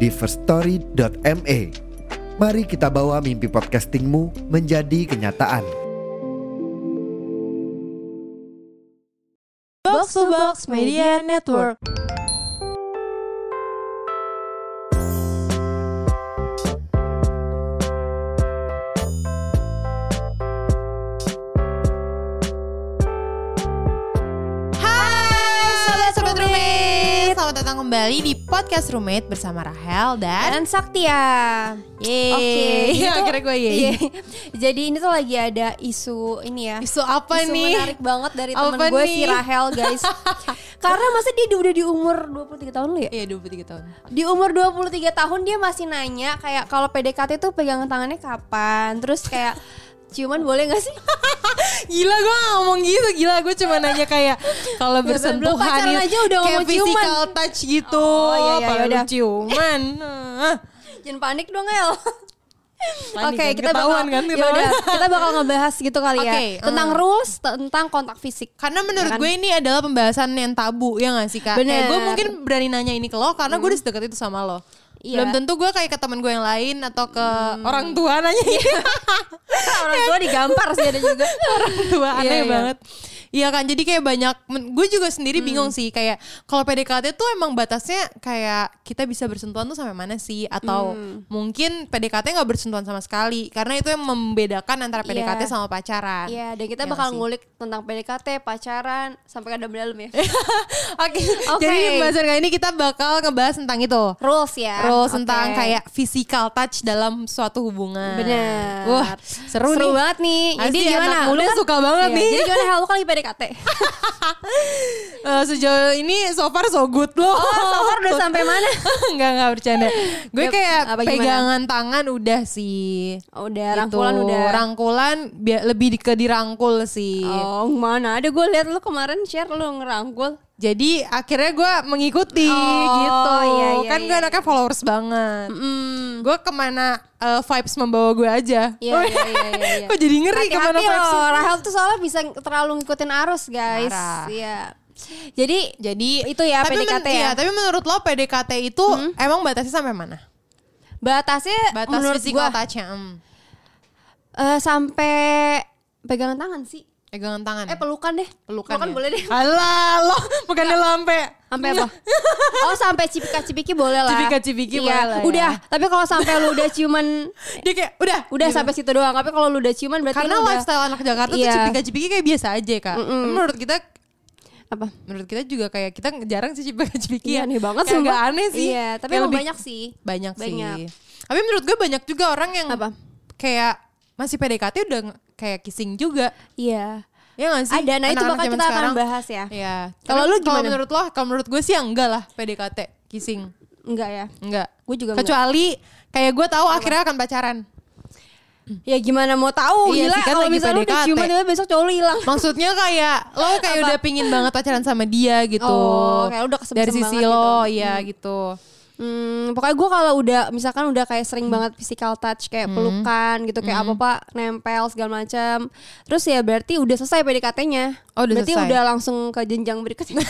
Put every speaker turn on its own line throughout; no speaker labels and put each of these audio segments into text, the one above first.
di firststory.me. Mari kita bawa mimpi podcastingmu menjadi kenyataan.
Box to Box Media Network.
Hai sobat-sobat roommate Selamat datang kembali di podcast roommate bersama Rahel dan
Dan Saktia.
Yeay
Oke, itu-
Akhirnya gue yeay
Iya. Jadi ini tuh lagi ada isu ini ya.
Isu apa
isu
nih?
menarik banget dari
Apa
temen gue
nih?
si Rahel guys. Karena masa dia di- udah di umur 23 tahun lu ya?
Iya 23 tahun
Di umur 23 tahun dia masih nanya kayak kalau PDKT tuh pegangan tangannya kapan? Terus kayak ciuman boleh gak sih?
Gila gue gak ngomong gitu Gila gue cuma nanya kayak Kalau
belum
bersentuhan
Iya, pacaran
itu
aja udah
Kayak
ngomong ciuman.
physical touch gitu
Oh, iya, iya,
Apalagi
yaudah.
ciuman Ah.
Jangan panik dong El.
Panik
Oke,
kan,
kita
ketahuan
bakal
kan,
ya
ketahuan.
udah, kita bakal ngebahas gitu kali ya
Oke,
tentang
eh.
rules tentang kontak fisik.
Karena menurut
Ya kan?
gue ini adalah pembahasan yang tabu ya gak sih kak?
Bener. Hmm.
Kayak gue mungkin berani nanya ini ke lo karena gue udah sedekat itu sama lo.
Iya.
Belum tentu gue kayak ke temen gue yang lain atau ke Hmm. Iya. orang tua nanya gitu.
Orang tua digampar sih ada juga.
orang tua
Iya,
aneh
iya. Hmm.
banget. Iya kan, jadi kayak banyak, men- gue juga sendiri bingung sih kayak kalau PDKT tuh emang batasnya kayak kita bisa bersentuhan tuh sampai mana sih? Atau
Hmm.
mungkin PDKT nggak bersentuhan sama sekali karena itu yang membedakan antara
Iya.
PDKT sama pacaran.
Iya, dan kita
Iya
bakal
sih.
ngulik tentang PDKT, pacaran, sampai ke dalam dalam ya.
Oke,
Oke.
jadi di pembahasan kali ini kita bakal ngebahas tentang itu.
Rules ya.
Rules
Oke.
tentang kayak physical touch dalam suatu hubungan.
Bener.
Wah, seru, nih.
banget nih. Jadi
Asli,
gimana?
anak muda
Lu
suka banget
Iya,
nih.
Jadi gimana hal lu kan lagi PDKT?
Eh, sejauh ini so far so good loh.
Oh, so far udah sampai mana?
Enggak, enggak bercanda. Gue
Yap,
kayak
apa gimana?
pegangan tangan udah sih.
Oh, Udah
Gitu.
rangkulan udah.
Rangkulan bi- lebih di- ke dirangkul sih.
Oh, mana ada gue lihat lu kemarin share lu ngerangkul.
Jadi akhirnya gue mengikuti
Oh,
gitu.
iya, iya,
kan gue
iya.
anaknya followers banget.
Hmm.
Gue kemana eh, vibes membawa gue aja.
Iya, iya, iya, iya, iya.
Kok jadi ngeri kemana
Hati-hati
vibes.
loh, Rahel tuh soalnya bisa terlalu ngikutin arus, guys.
Parah.
Iya. Jadi
Jadi
itu ya
tapi men-
PDKT ya. Mm-hmm.
iya, tapi menurut lo PDKT itu emang batasnya sampai mana?
batasnya
Batas
menurut
physical
gue
touch-nya, hmm.
sampai pegangan tangan sih.
pegangan tangan.
Eh pelukan deh.
pelukan. Iya. ya?
boleh deh.
Alah, lo bukannya lo sampai
Sampai apa? Oh sampai cipika-cipiki boleh lah.
Cipika-cipiki
Iya,
boleh lah ya.
Udah, tapi kalau sampai lu udah ciuman
dia kayak udah gitu."
udah sampai situ doang. Tapi kalau lu udah ciuman berarti
Iya. karena
lu udah-
lifestyle anak Jakarta
Iya.
tuh cipika-cipiki kayak biasa aja kak
Mm-mm.
menurut kita
apa?
menurut kita juga kayak kita jarang sih cipika-cipiki
Iya, aneh banget
Kayak
sumpah.
nggak aneh sih
Iya, tapi
Kayak
emang
lebih-
banyak sih.
banyak,
Banyak.
sih tapi menurut gue banyak juga orang yang
Apa?
kayak masih PDKT udah nge- kayak kissing juga
Iya.
ya nggak sih
Ada, nah itu
Anak-anak
bakal
zaman
kita akan
sekarang.
bahas ya.
Iya.
Kalau
Tapi
lu gimana?
menurut lo kalau menurut gue sih ya enggak lah PDKT kissing
Enggak ya.
enggak
Gue juga enggak.
kecuali kayak gue tahu akhirnya akan pacaran
Ya gimana mau tahu?
Iya
Gila,
sih, kan
kalau
lagi
misalnya lu udah
PDKT.
ciuman tiba besok cowok lu hilang.
Maksudnya kayak lo kayak
Apa?
udah pingin banget pacaran sama dia gitu.
Oh, kayak udah kesebsem
Dari sisi
banget
lo, iya gitu.
Hmm, pokoknya gue kalau udah misalkan udah kayak
Hmm.
sering banget physical touch kayak pelukan gitu kayak apa apa nempel segala macam. Terus ya berarti udah selesai PDKT-nya.
Oh, udah
berarti
selesai.
udah langsung ke jenjang berikutnya.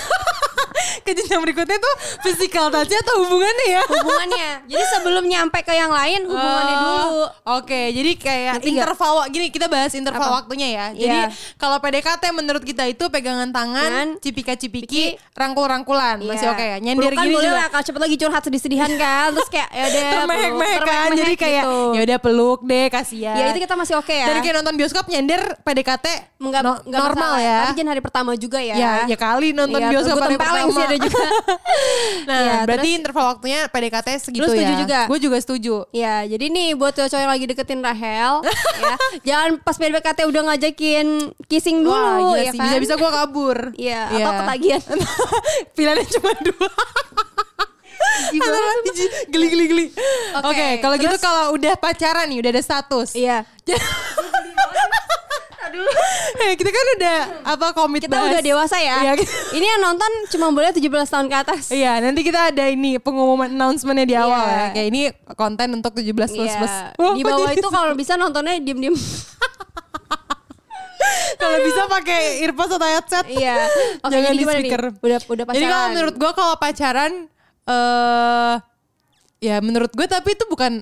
Ke jenjang berikutnya tuh physical touch atau hubungannya ya?
hubungannya. Jadi sebelum nyampe ke yang lain hubungannya
Oh.
dulu.
Oke, jadi kayak
Ngerti nggak?
interval wa- gini kita bahas interval
Apa?
waktunya ya. Jadi
Iya.
kalau PDKT menurut kita itu pegangan
Kan?
tangan, cipika-cipiki,
Piki.
rangkul-rangkulan, masih
Iya.
oke ya. Nyender
Pelukan
gini
boleh
juga.
lah kalau cepet lagi curhat sedih-sedihan kan. Terus kayak ya udah
Termehek-mehek Iya,
peluk,
kan, jadi
termehek-mehek
kayak
gitu.
ya udah peluk deh kasihan.
Ya itu kita masih oke ya.
Dan kayak nonton bioskop nyender PDKT
Enggak,
no-
enggak
normal
masalah.
ya.
Tapi jangan hari pertama juga ya.
Ya, ya kali nonton
Iya,
bioskop
gua
hari
tempeleng
pertama.
sih ada juga.
nah,
Iya,
berarti interval waktunya PDKT segitu
Lu setuju
ya.
juga?
Gue juga setuju.
Ya, jadi nih buat cowok yang lagi deketin Rahel, ya, jangan pas PDKT udah ngajakin kissing dulu,
Wah, gila
ya
sih.
kan?
Bisa-bisa gue kabur.
Iya, atau ketagihan. Iya.
Pilihannya cuma dua. Antara jijik, geli geli geli. Oke, kalau gitu
terus-
kalau udah pacaran nih, udah ada status.
Iya.
Eh, kita kan udah apa komit
Kita
bahas.
udah dewasa
Iya,
ya. Ini yang nonton cuma boleh 17 tahun ke atas.
Iya, nanti kita ada ini pengumuman announcementnya di awal
Iya.
ya. Kayak ini konten untuk 17 plus plus.
Iya.
Wah,
Di
kok
bawah
jadi-
itu kalau bisa nontonnya diem-diem.
kalau bisa pakai earphone atau headset.
Iya. Oke,
Jangan
jadi
di
gimana nih?
speaker.
Udah udah pacaran.
Jadi kalau menurut gue kalau pacaran eh ya menurut gue tapi itu bukan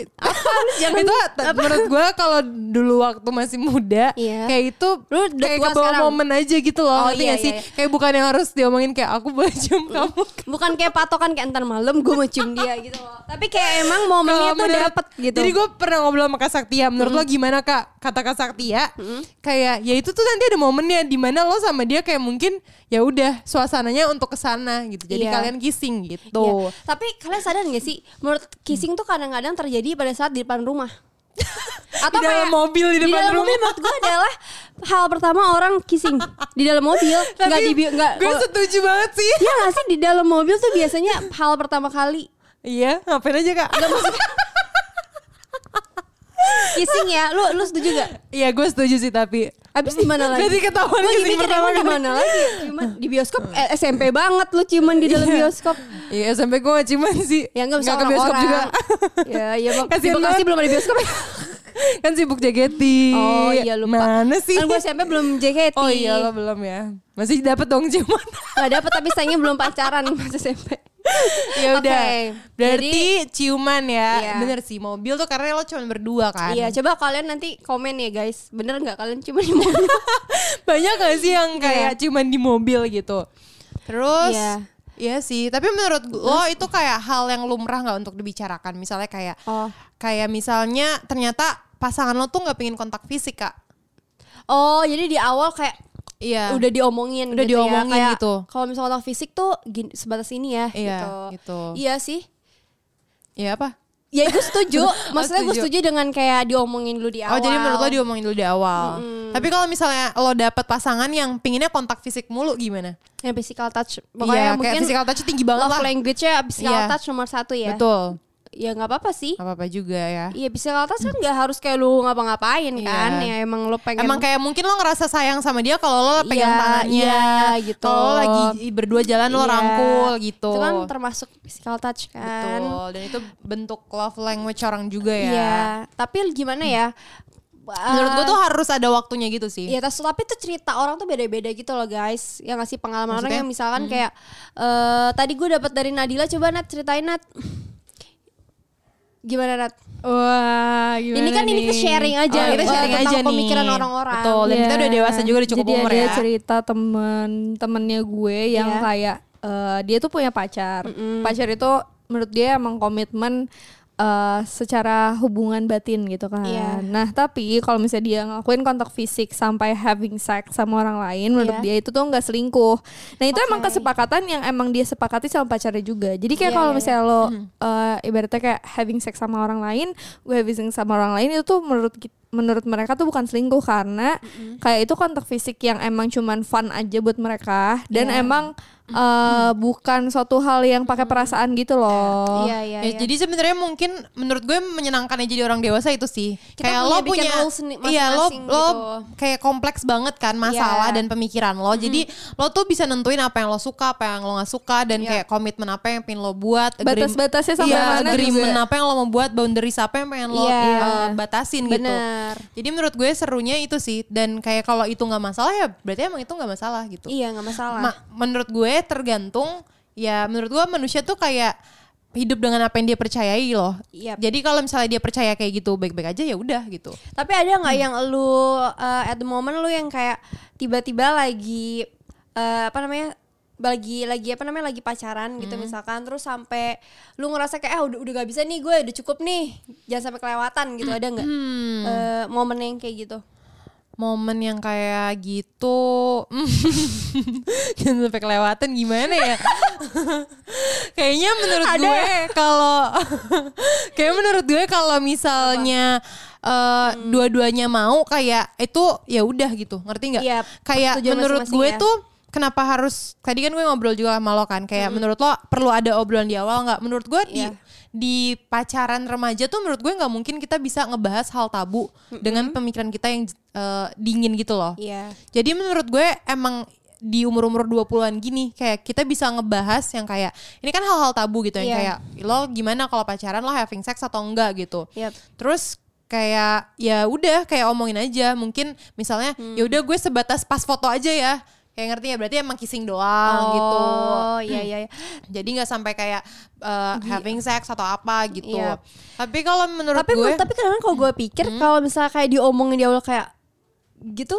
apa
jangan-
itu t- menurut gue kalau dulu waktu masih muda
Iya.
kayak itu
Lu udah
kayak
tua
kebawa
sekarang.
momen aja gitu loh
Oh,
ngerti
iya,
gak sih
iya, iya.
kayak bukan yang harus diomongin kayak aku boleh cium kamu
bukan kayak patokan kayak entar malam gue mau cium dia gitu loh. Tapi kayak emang momennya
Kalau
tuh
menurut-
dapet gitu.
Jadi gue pernah ngobrol sama Kak Saktia. Menurut lo gimana Kak? Kata Kak Saktia kayak ya itu tuh nanti ada momennya di mana lo sama dia kayak mungkin ya udah suasananya untuk kesana gitu. Jadi
Iya.
kalian kissing gitu.
Iya. Tapi kalian sadar gak sih, menurut kissing tuh kadang-kadang terjadi pada saat di depan rumah. Atau
Di dalam
kayak-
mobil, di depan
dalam mobil
rumah.
menurut gue adalah hal pertama orang kissing di dalam mobil, nggak di nggak.
gue
kalau-
setuju banget sih.
Iya nggak sih di dalam mobil tuh biasanya hal pertama kali
Iya, ngapain aja Kak?
kissing ya. Lu lu setuju gak?
Iya, gue setuju sih tapi
Abis di mana lagi?
Jadi ketahuan
Gua lagi
kissing
mikir,
pertama
emang di
kali.
mana lagi? Ciuman di bioskop Eh, SMP banget lu ciuman di dalam bioskop.
Iya sampai gue cuman sih
Ya nggak bisa
nggak ke bioskop
orang-orang.
juga
Ya ya bang. Di
Kasihan
Bekasi
banget.
belum ada bioskop.
kan sibuk JKT
Oh iya lupa.
mana sih
Kan gue SMP belum JKT.
oh iya lo belum ya masih dapat dong cuman
Gak dapet tapi sayangnya belum pacaran pas SMP.
ya
Oke,
udah berarti
jadi-
ciuman ya
Iya.
bener sih mobil tuh karena lo cuma berdua kan
Iya, coba kalian nanti komen ya guys. Bener nggak kalian cuma di mobil?
banyak gak Ya sih yang kayak ciuman di mobil gitu terus
Iya.
Iya sih, tapi menurut lo itu kayak hal yang lumrah nggak untuk dibicarakan. Misalnya kayak,
Oh.
kayak misalnya ternyata pasangan lo tuh nggak pingin kontak fisik kak.
Oh, jadi di awal kayak
Iya.
udah diomongin
Udah
gitu
diomongin
ya. Kayak
gitu.
Kalau misalnya kontak fisik tuh gini- sebatas ini ya
Iya,
gitu.
gitu.
Iya sih.
Iya apa?
Ya gue setuju. Maksudnya gue
Oh, setuju.
setuju dengan kayak diomongin dulu di
Oh
awal.
jadi menurut lo diomongin dulu di awal. Tapi kalau misalnya lo dapet pasangan yang pinginnya kontak fisik mulu gimana?
yang physical touch.
Iya,
Pokoknya
kayak
mungkin
physical touch tinggi banget
love
lah.
language-nya physical
Iya.
touch nomor satu ya.
Betul.
Ya nggak apa-apa sih.
Gak apa-apa juga ya.
Iya physical touch kan nggak harus kayak lu ngapa-ngapain kan.
Iya.
Ya emang lu pengen.
Emang kayak mungkin lo ngerasa sayang sama dia kalau lo pegang
Iya,
tangannya.
iya, gitu.
Kalau lo lagi berdua jalan lo
Iya.
rangkul gitu.
Itu kan termasuk physical touch kan.
Betul. Dan itu bentuk love language orang juga ya.
Iya, Eh. tapi gimana ya? Ah,
Menurut gua tuh harus ada waktunya gitu sih.
Iya, tas- tapi tuh cerita orang tuh beda-beda gitu loh guys. Yang ngasih pengalaman
Maksudnya?
orang
Hmm.
yang misalkan kayak eh tadi gue dapat dari Nadila coba Nat ceritain Nat. Gimana Nat?
Wah, gimana
ini kan ini
nih? Iya.
kita sharing aja,
Oh, kita
eh,
sharing
tentang
aja nih.
pemikiran orang-orang. Iya,
Betul. Dan kita udah dewasa juga, udah cukup
Jadi
umur
ada
ya.
cerita temen-temennya gue yang
Iya.
kayak eh, dia tuh punya pacar. Pacar itu menurut dia emang komitmen eh, secara hubungan batin gitu kan.
Iya.
Nah tapi kalau misalnya dia ngakuin kontak fisik sampai having sex sama orang lain, menurut
Iya.
dia Ya, itu tuh nggak selingkuh. Nah itu emang
Oke.
kesepakatan yang emang dia sepakati sama pacarnya juga. Jadi kayak
Iya,
kalau
iya,
misalnya lo eh, ibaratnya kayak having sex sama orang lain, gue having sex sama orang lain itu tuh menurut ki- menurut mereka tuh bukan selingkuh karena kayak itu kontak fisik yang emang cuman fun aja buat mereka dan
Iya.
emang eh, bukan suatu hal yang pakai perasaan gitu loh.
Iya, iya,
Ya,
iya.
Jadi sebenarnya mungkin menurut gue menyenangkannya jadi orang dewasa itu sih.
Kita
kayak
punya
lo
bikin
punya
rules seni-
iya lo
masing-masing
lo
gitu.
kayak kompleks banget kan masalah dan
Iya.
pemikiran lo. Jadi lo tuh bisa nentuin apa yang lo suka, apa yang lo nggak suka dan
Iya.
kayak komitmen apa yang pengen lo buat, agreem-
Batas-batasnya sampai
iya,
mana gitu.
agreement
juga.
apa yang lo mau buat, boundaries apa yang pengen lo
gitu ya. Iya.
eh, batasin gitu.
Bener.
Jadi menurut gue serunya itu sih dan kayak kalau itu nggak masalah ya berarti emang itu nggak masalah gitu.
Iya, nggak masalah.
Ma- menurut gue tergantung ya menurut gue manusia tuh kayak hidup dengan apa yang dia percayai loh.
Yap.
Jadi kalau misalnya dia percaya kayak gitu baik-baik aja ya udah gitu.
Tapi ada nggak yang lu uh, at the moment lu yang kayak tiba-tiba lagi uh, apa namanya? lagi lagi apa namanya lagi pacaran
Hmm.
gitu misalkan terus sampai lu ngerasa kayak ah udah udah gak bisa nih gue udah cukup nih jangan sampai kelewatan gitu ada nggak
Hmm.
Eh, momen yang kayak gitu
Momen yang kayak gitu jangan sampai kelewatan gimana ya? Kayaknya menurut
Ada
gue kalau kayak menurut gue kalau misalnya eh,
Hmm.
dua-duanya mau kayak itu ya udah gitu ngerti nggak?
Iya,
kayak
persetujuan
menurut
masing-masing
gue
ya.
tuh kenapa harus tadi kan gue ngobrol juga sama lo kan kayak menurut lo perlu ada obrolan di awal nggak menurut gue di
Hmm. Iya.
di pacaran remaja tuh menurut gue nggak mungkin kita bisa ngebahas hal tabu dengan pemikiran kita yang eh, dingin gitu loh
Iya.
jadi menurut gue emang di umur-umur 20-an gini kayak kita bisa ngebahas yang kayak ini kan hal-hal tabu gitu yang
Iya.
kayak lo gimana kalau pacaran lo having sex atau enggak gitu.
Yap.
Terus kayak ya udah kayak omongin aja mungkin misalnya
Hmm.
ya udah gue sebatas pas foto aja ya. Kayak ngerti ya berarti emang kissing doang gitu.
Oh, Ah, iya iya. iya.
Jadi nggak sampai kayak uh, having sex atau apa gitu.
Iya.
Tapi kalau menurut
Tapi
gue Hmm.
tapi kadang kalau gue pikir kalau misalnya kayak diomongin di awal kayak gitu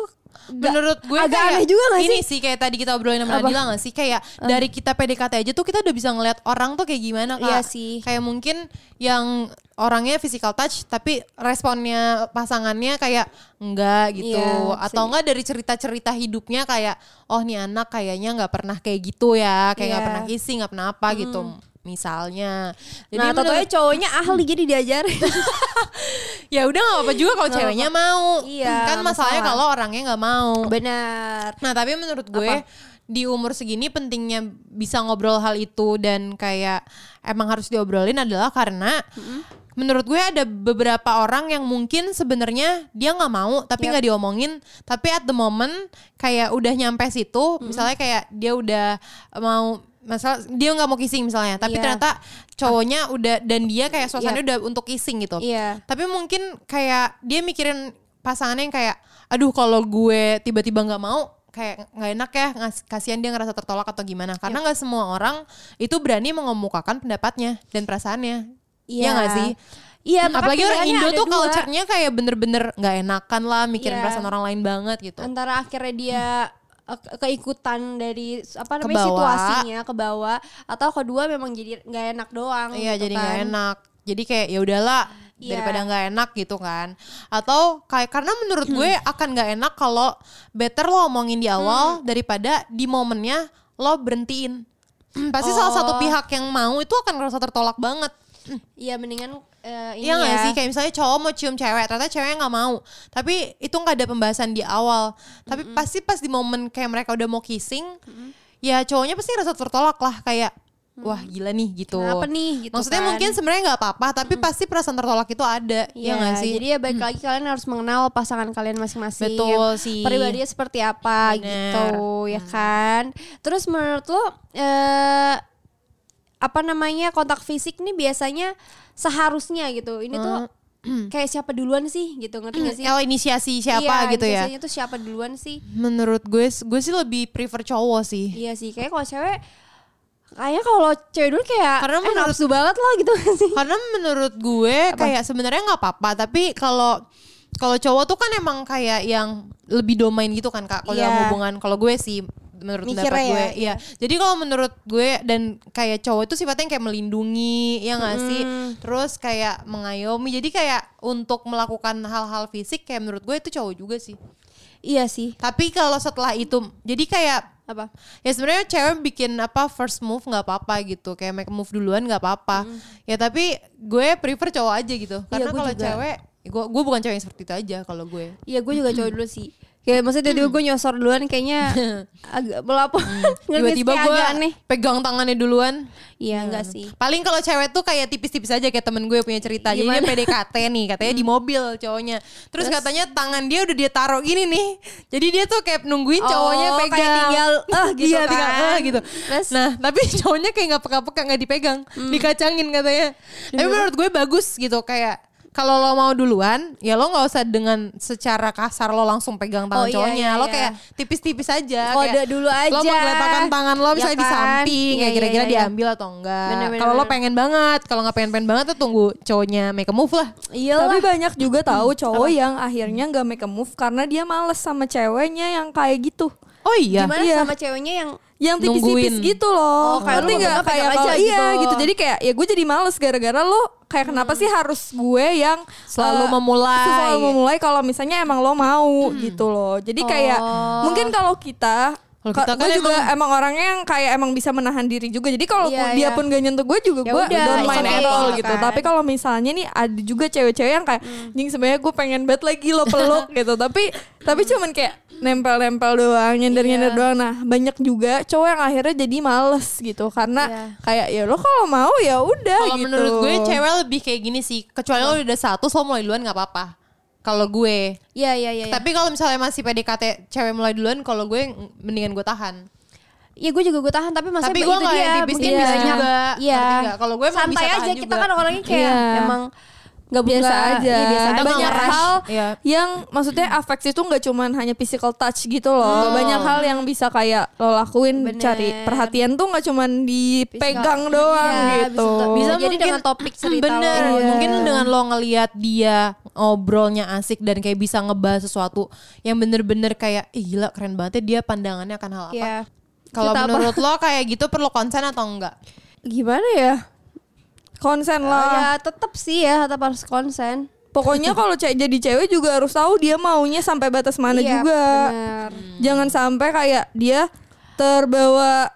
nggak-
menurut gue
agak
kayak
aneh juga gak
ini
sih?
sih kayak tadi kita obrolin sama
Apa? Eh.
Nadila gak sih kayak dari kita PDKT aja tuh kita udah bisa ngelihat orang tuh kayak gimana kak
Iya sih.
kayak mungkin yang orangnya physical touch tapi responnya pasangannya kayak enggak gitu
Iya,
atau
sih.
enggak dari cerita-cerita hidupnya kayak oh nih anak kayaknya nggak pernah kayak gitu ya kayak nggak
Iya.
pernah kissing nggak pernah apa gitu misalnya jadi
nah,
menurut-
tentunya cowoknya ahli jadi diajarin.
ya udah nggak apa juga kalau
Nggak
ceweknya mau
Iya,
kan masalahnya
masalah.
kalau orangnya nggak mau
Benar.
Nah tapi menurut gue di umur segini pentingnya bisa ngobrol hal itu dan kayak emang harus diobrolin adalah karena menurut gue ada beberapa orang yang mungkin sebenarnya dia nggak mau tapi
Yap.
nggak diomongin tapi at the moment kayak udah nyampe situ misalnya kayak dia udah mau masalah dia nggak mau kissing misalnya tapi
Iya.
ternyata cowoknya udah dan dia kayak suasananya udah untuk kissing gitu
Iya.
tapi mungkin kayak dia mikirin pasangannya yang kayak aduh kalau gue tiba-tiba nggak mau kayak nggak enak ya ngas- kasihan dia ngerasa tertolak atau gimana
Iya.
karena nggak semua orang itu berani mengemukakan pendapatnya dan perasaannya Iya nggak sih
Iya, maka
apalagi orang
pilihannya
Indo
ada
tuh
dua.
culture-nya kayak bener-bener nggak enakan lah mikirin
Iya.
perasaan orang lain banget gitu
antara akhirnya dia eh, ke- keikutan dari apa
Ke
namanya
bawah.
situasinya ke bawah atau kedua memang jadi nggak enak doang
Iya
gitu
jadi
kan.
nggak enak. Jadi kayak ya udahlah
Iya.
daripada nggak enak gitu kan. Atau kayak karena menurut gue
Hmm.
akan nggak enak kalau better lo omongin di awal daripada di momennya lo berhentiin. Pasti salah satu
Oh.
pihak yang mau itu akan ngerasa tertolak banget.
Iya mendingan eh, ini
Iya nggak
ya.
sih kayak misalnya cowok mau cium cewek ternyata ceweknya nggak mau tapi itu nggak ada pembahasan di awal tapi pasti pas di momen kayak mereka udah mau kissing ya cowoknya pasti rasa tertolak lah kayak wah gila nih gitu
Kenapa nih, gitu
maksudnya
kan.
mungkin sebenarnya nggak apa-apa tapi pasti perasaan tertolak itu ada ya
Iya
nggak sih Hmm.
Jadi ya baik lagi kalian harus mengenal pasangan kalian masing-masing.
Betul sih.
Pribadinya seperti apa
Bener. Hmm.
gitu ya kan. Terus menurut lo eh apa namanya kontak fisik nih biasanya seharusnya gitu. Ini tuh kayak siapa duluan sih gitu ngerti gak sih?
kalau inisiasi Hmm. siapa
Iya,
gitu ya
Biasanya tuh siapa duluan sih?
menurut gue gue sih lebih prefer cowok sih
Iya sih, kayak kalau cewek kayaknya kalau cewek dulu kayak
Karena
eh,
menurut-
nafsu banget loh gitu gak sih.
karena menurut gue kayak sebenarnya nggak apa-apa tapi kalau kalau cowok tuh kan emang kayak yang lebih domain gitu kan kak kalau dalam
Iya.
hubungan kalau gue sih menurut pendapat
Mikirnya
gue
ya,
iya jadi kalau menurut gue dan kayak cowok itu sifatnya kayak melindungi ya nggak sih terus kayak mengayomi jadi kayak untuk melakukan hal-hal fisik kayak menurut gue itu cowok juga sih
Iya sih.
tapi kalau setelah itu jadi kayak
Apa?
ya sebenarnya cewek bikin apa first move nggak apa-apa gitu kayak make move duluan nggak apa-apa
Hmm.
ya tapi gue prefer cowok aja gitu karena
gue
kalau
Iya, juga.
cewek gue gue bukan cewek yang seperti itu aja kalau gue
Iya gue juga cowok dulu sih Kayak maksudnya tiba-tiba gue nyosor duluan kayaknya agak melapor
Hmm. tiba-tiba
kayak
gue
agak aneh
pegang tangannya duluan
Iya enggak sih
paling kalau cewek tuh kayak tipis-tipis aja kayak temen gue punya cerita jadi dia PDKT nih katanya di mobil cowoknya terus, katanya tangan dia udah dia taruh gini nih jadi dia tuh kayak nungguin cowoknya
Oh,
pegang
kayak tinggal, ah, gitu
Iya, tinggal,
kan.
ah, gitu
Terus?
nah tapi cowoknya kayak nggak peka-peka nggak dipegang dikacangin katanya tapi menurut gue bagus gitu kayak kalau lo mau duluan, ya lo nggak usah dengan secara kasar lo langsung pegang tangan
Oh, iya,
cowoknya.
iya,
Lo
iya.
kayak tipis-tipis aja.
Kode
kayak
dulu aja.
Lo menggeletakan tangan lo
Ya
misalnya di
kan?
samping,
Iya,
ya
iya,
kira-kira
iya, iya.
diambil atau enggak.
Bener, bener,
Kalau lo
bener.
pengen banget, kalau nggak pengen-pengen banget tuh tunggu cowoknya make a move lah.
Iya
Tapi
lah
banyak juga tahu cowok yang akhirnya nggak make a move karena dia males sama ceweknya yang kayak gitu.
Oh iya.
Gimana
Iya.
sama ceweknya yang
Yang tipis-tipis
Nungguin.
gitu
Oh,
loh.
kayak
Ngerti
lu
nggak?
nggak pegang
Kayak
aja
kalau- iya
gitu. Hmm.
gitu. Jadi kayak ya gue jadi males gara-gara lo kayak kenapa sih harus gue yang
Selalu
eh,
memulai.
Selalu memulai kalau misalnya emang lo mau
Hmm.
gitu loh. Jadi kayak
Oh.
mungkin kalau kita
Kalau kita
gue
kan
juga
emang-
emang, orangnya yang kayak emang bisa menahan diri juga. Jadi kalau
Iya,
dia
iya.
pun gak nyentuh gue juga
Ya
gue
udah,
don't
it's
mind at
okay,
all
gitu
gitu.
kan. Hmm.
Tapi kalau misalnya nih ada juga cewek-cewek yang kayak jing sebenarnya gue pengen banget lagi lo peluk gitu. Tapi tapi cuman kayak nempel-nempel doang, nyender-nyender
Iya.
doang. Nah, banyak juga cowok yang akhirnya jadi males gitu karena
Iya.
kayak ya lo kalau mau ya udah
Kalau
gitu.
menurut gue cewek lebih kayak gini sih. Kecuali lo udah satu, so mulai duluan nggak apa-apa. Kalau gue.
Iya iya iya.
Tapi kalau misalnya masih PDKT cewek mulai duluan, kalau gue ng- mendingan gue tahan.
Iya gue juga gue tahan tapi maksudnya
Tapi gue
itu
nggak
dia
dibisin
butuh
bisa
banyak.
juga.
Iya.
Ngerti nggak? Kalau gue emang
santai
bisa tahan
aja kita
juga.
kan orangnya kayak
Iya.
emang nggak
biasa
buka-
aja.
iya, biasa aja.
banyak
Nggak rush.
hal
Iya.
yang maksudnya
Hmm.
afeksi itu nggak cuman hanya physical touch gitu loh. Banyak hal yang bisa kayak lo lakuin
Oh. Bener.
cari perhatian tuh nggak cuman dipegang
Physical-
doang
Iya,
gitu.
bisa- Jadi dengan topik cerita
bener
lo.
Iya.
mungkin dengan lo ngelihat dia ngobrolnya asik dan kayak bisa ngebahas sesuatu yang bener-bener kayak Ih, gila keren banget ya dia pandangannya akan hal apa
Iya.
kalau
Cerita apa?
menurut lo kayak gitu perlu konsen atau enggak
Gimana ya? Konsen
Oh, ya
lah.
tetap sih ya tetap harus konsen.
Pokoknya kalau ce- jadi cewek juga harus tahu dia maunya sampai batas mana
Iya,
juga.
bener.
Jangan sampai kayak dia terbawa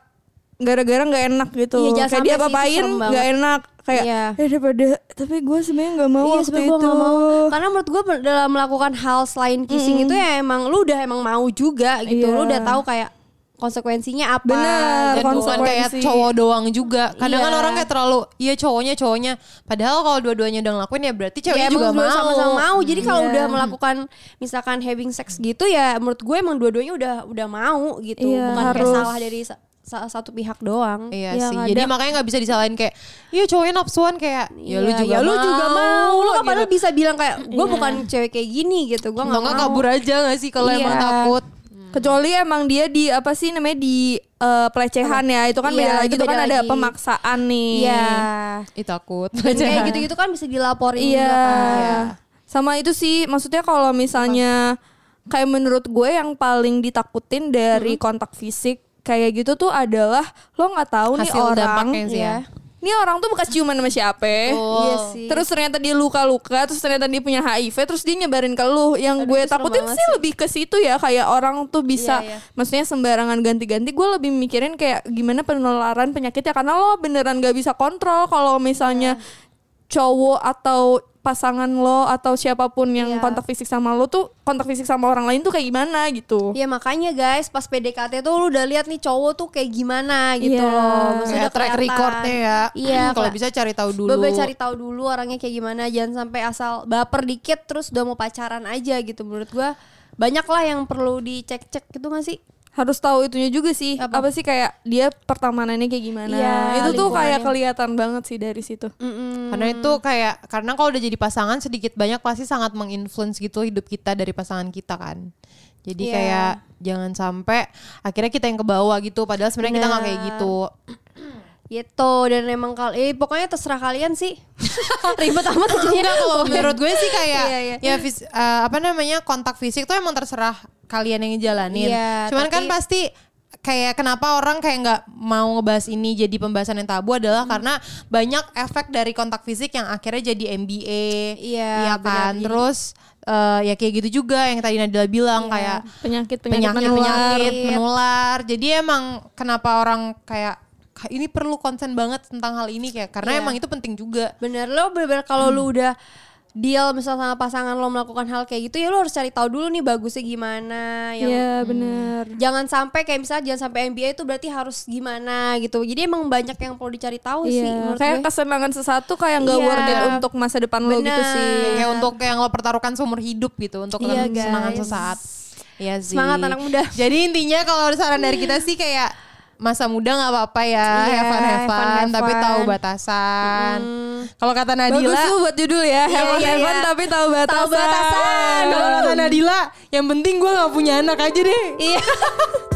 gara-gara nggak enak gitu.
Iya, jangan
kayak dia
sampai sih, itu
papain
serem banget.
nggak enak kayak
Iya.
eh daripada tapi gue sebenarnya nggak mau
iya,
waktu
sebenernya
itu.
gua nggak mau. Karena menurut gue dalam melakukan hal selain kissing itu ya emang lu udah emang mau juga gitu.
Iya.
Lu udah tahu kayak konsekuensinya apa.
Bener,
dan bukan
konsekuensi.
kayak cowok doang juga kadang kan
Iya.
orang kayak terlalu iya cowoknya cowoknya padahal kalau dua-duanya udah ngelakuin ya berarti ceweknya
ya, emang
juga
dua
mau
sama-sama mau. Jadi kalau
Iya.
udah melakukan misalkan having sex gitu ya menurut gue emang dua-duanya udah udah mau gitu.
Iya,
Bukan kayak
harus.
salah dari sa- salah satu pihak doang.
Iya
Iya,
sih.
nggak
Jadi
ada.
makanya nggak bisa disalahin kayak, iya cowoknya nafsuan kayak, ya lu
Iya,
juga
ya
mau.
lu juga mau. Lu kan
gitu.
padahal bisa bilang kayak gue bukan cewek kayak gini gitu. Gue
Atau
nggak
nggak
mau.
kabur aja nggak sih kalau
Iya.
emang takut.
Kecuali emang dia di apa sih namanya di eh, pelecehan ya itu kan
Iya,
beda lagi
itu
itu kan
beda
ada
lagi.
pemaksaan nih.
Iya.
Ih takut.
Dan kayak
gitu.
gitu-gitu kan bisa dilaporin juga
Iya.
kan.
Sama itu sih maksudnya kalau misalnya kayak menurut gue yang paling ditakutin dari
Hmm.
kontak fisik kayak gitu tuh adalah lo nggak tahu nih
Hasil
orang Iya.
dampaknya sih ya.
Nih orang tuh bekas ciuman sama siapa?
Oh.
Iya sih.
Terus ternyata dia luka-luka, terus ternyata dia punya HIV, terus dia nyebarin ke lu. Yang
Aduh,
gue
itu serem
takutin
banget
sih lebih ke situ ya, kayak orang tuh bisa,
Iya, iya.
maksudnya sembarangan ganti-ganti. Gue lebih mikirin kayak gimana penularan penyakitnya, karena lo beneran gak bisa kontrol kalau misalnya
Iya.
cowok atau pasangan lo atau siapapun yang
Iya.
kontak fisik sama lo tuh kontak fisik sama orang lain tuh kayak gimana gitu.
Ya makanya guys pas PDKT tuh lu udah lihat nih cowok tuh kayak gimana gitu
Iya.
loh.
Kayak
Maksudnya udah
track
kelihatan.
recordnya ya.
Iya.
kalau
kayak-
bisa cari tahu dulu.
Bebe cari tahu dulu orangnya kayak gimana, jangan sampai asal baper dikit terus udah mau pacaran aja gitu. Menurut gua banyak lah yang perlu dicek-cek gitu gak sih?
Harus tahu itunya juga sih.
Apa?
Apa, sih kayak dia pertemanannya kayak gimana.
Iya,
itu tuh
lingkungannya.
kayak kelihatan banget sih dari situ.
Karena itu kayak karena kalau udah jadi pasangan sedikit banyak pasti sangat menginfluence gitu hidup kita dari pasangan kita kan. Jadi
Iya.
kayak jangan sampai akhirnya kita yang ke bawah gitu padahal sebenarnya kita nggak kayak
Benar.
gitu.
Gitu dan emang kal eh pokoknya terserah kalian sih. Ribet amat jadinya.
Enggak kalau menurut gue sih kayak
Iya, iya.
ya fis- eh, apa namanya kontak fisik tuh emang terserah kalian yang jalanin.
Iya,
Cuman kan
tapi-
pasti kayak kenapa orang kayak nggak mau ngebahas ini jadi pembahasan yang tabu adalah
Hmm.
karena banyak efek dari kontak fisik yang akhirnya jadi MBA,
Iya,
iya kan.
benar, jadi-
Terus eh, ya kayak gitu juga yang tadi Nadila
Iya.
bilang kayak
Penyakit-penyakit
penyakit
menular.
penyakit menular. Jadi emang kenapa orang kayak "Ka- ini perlu konsen banget tentang hal ini kayak karena
Iya.
emang itu penting juga.
Bener lo bener-bener kalau
Hmm.
lu udah deal misal sama pasangan lo melakukan hal kayak gitu ya lo harus cari tahu dulu nih bagusnya gimana yang
Iya bener
jangan sampai kayak misalnya jangan sampai MBA itu berarti harus gimana gitu jadi emang banyak yang perlu dicari tahu sih
Iya,
menurut
kayak
gue.
kesenangan sesuatu kayak nggak
Iya.
worth it untuk masa depan lo gitu
Benar.
sih.
Kayak untuk yang lo pertaruhkan seumur hidup gitu untuk
Iya,
kesenangan
guys.
sesaat. Iya sih.
Semangat anak muda.
Jadi intinya kalau saran dari kita sih kayak masa muda nggak apa-apa ya,
Iya,
have fun, have
have fun,
fun,
have
tapi tahu
fun.
batasan. Kalau kata
Bagus
Nadila,
tuh buat judul
Iya,
ya, hewan
iya,
hewan
iya.
tapi tahu batasan.
Kalau kata Nadila, yang penting gue nggak punya anak aja deh.
Iya.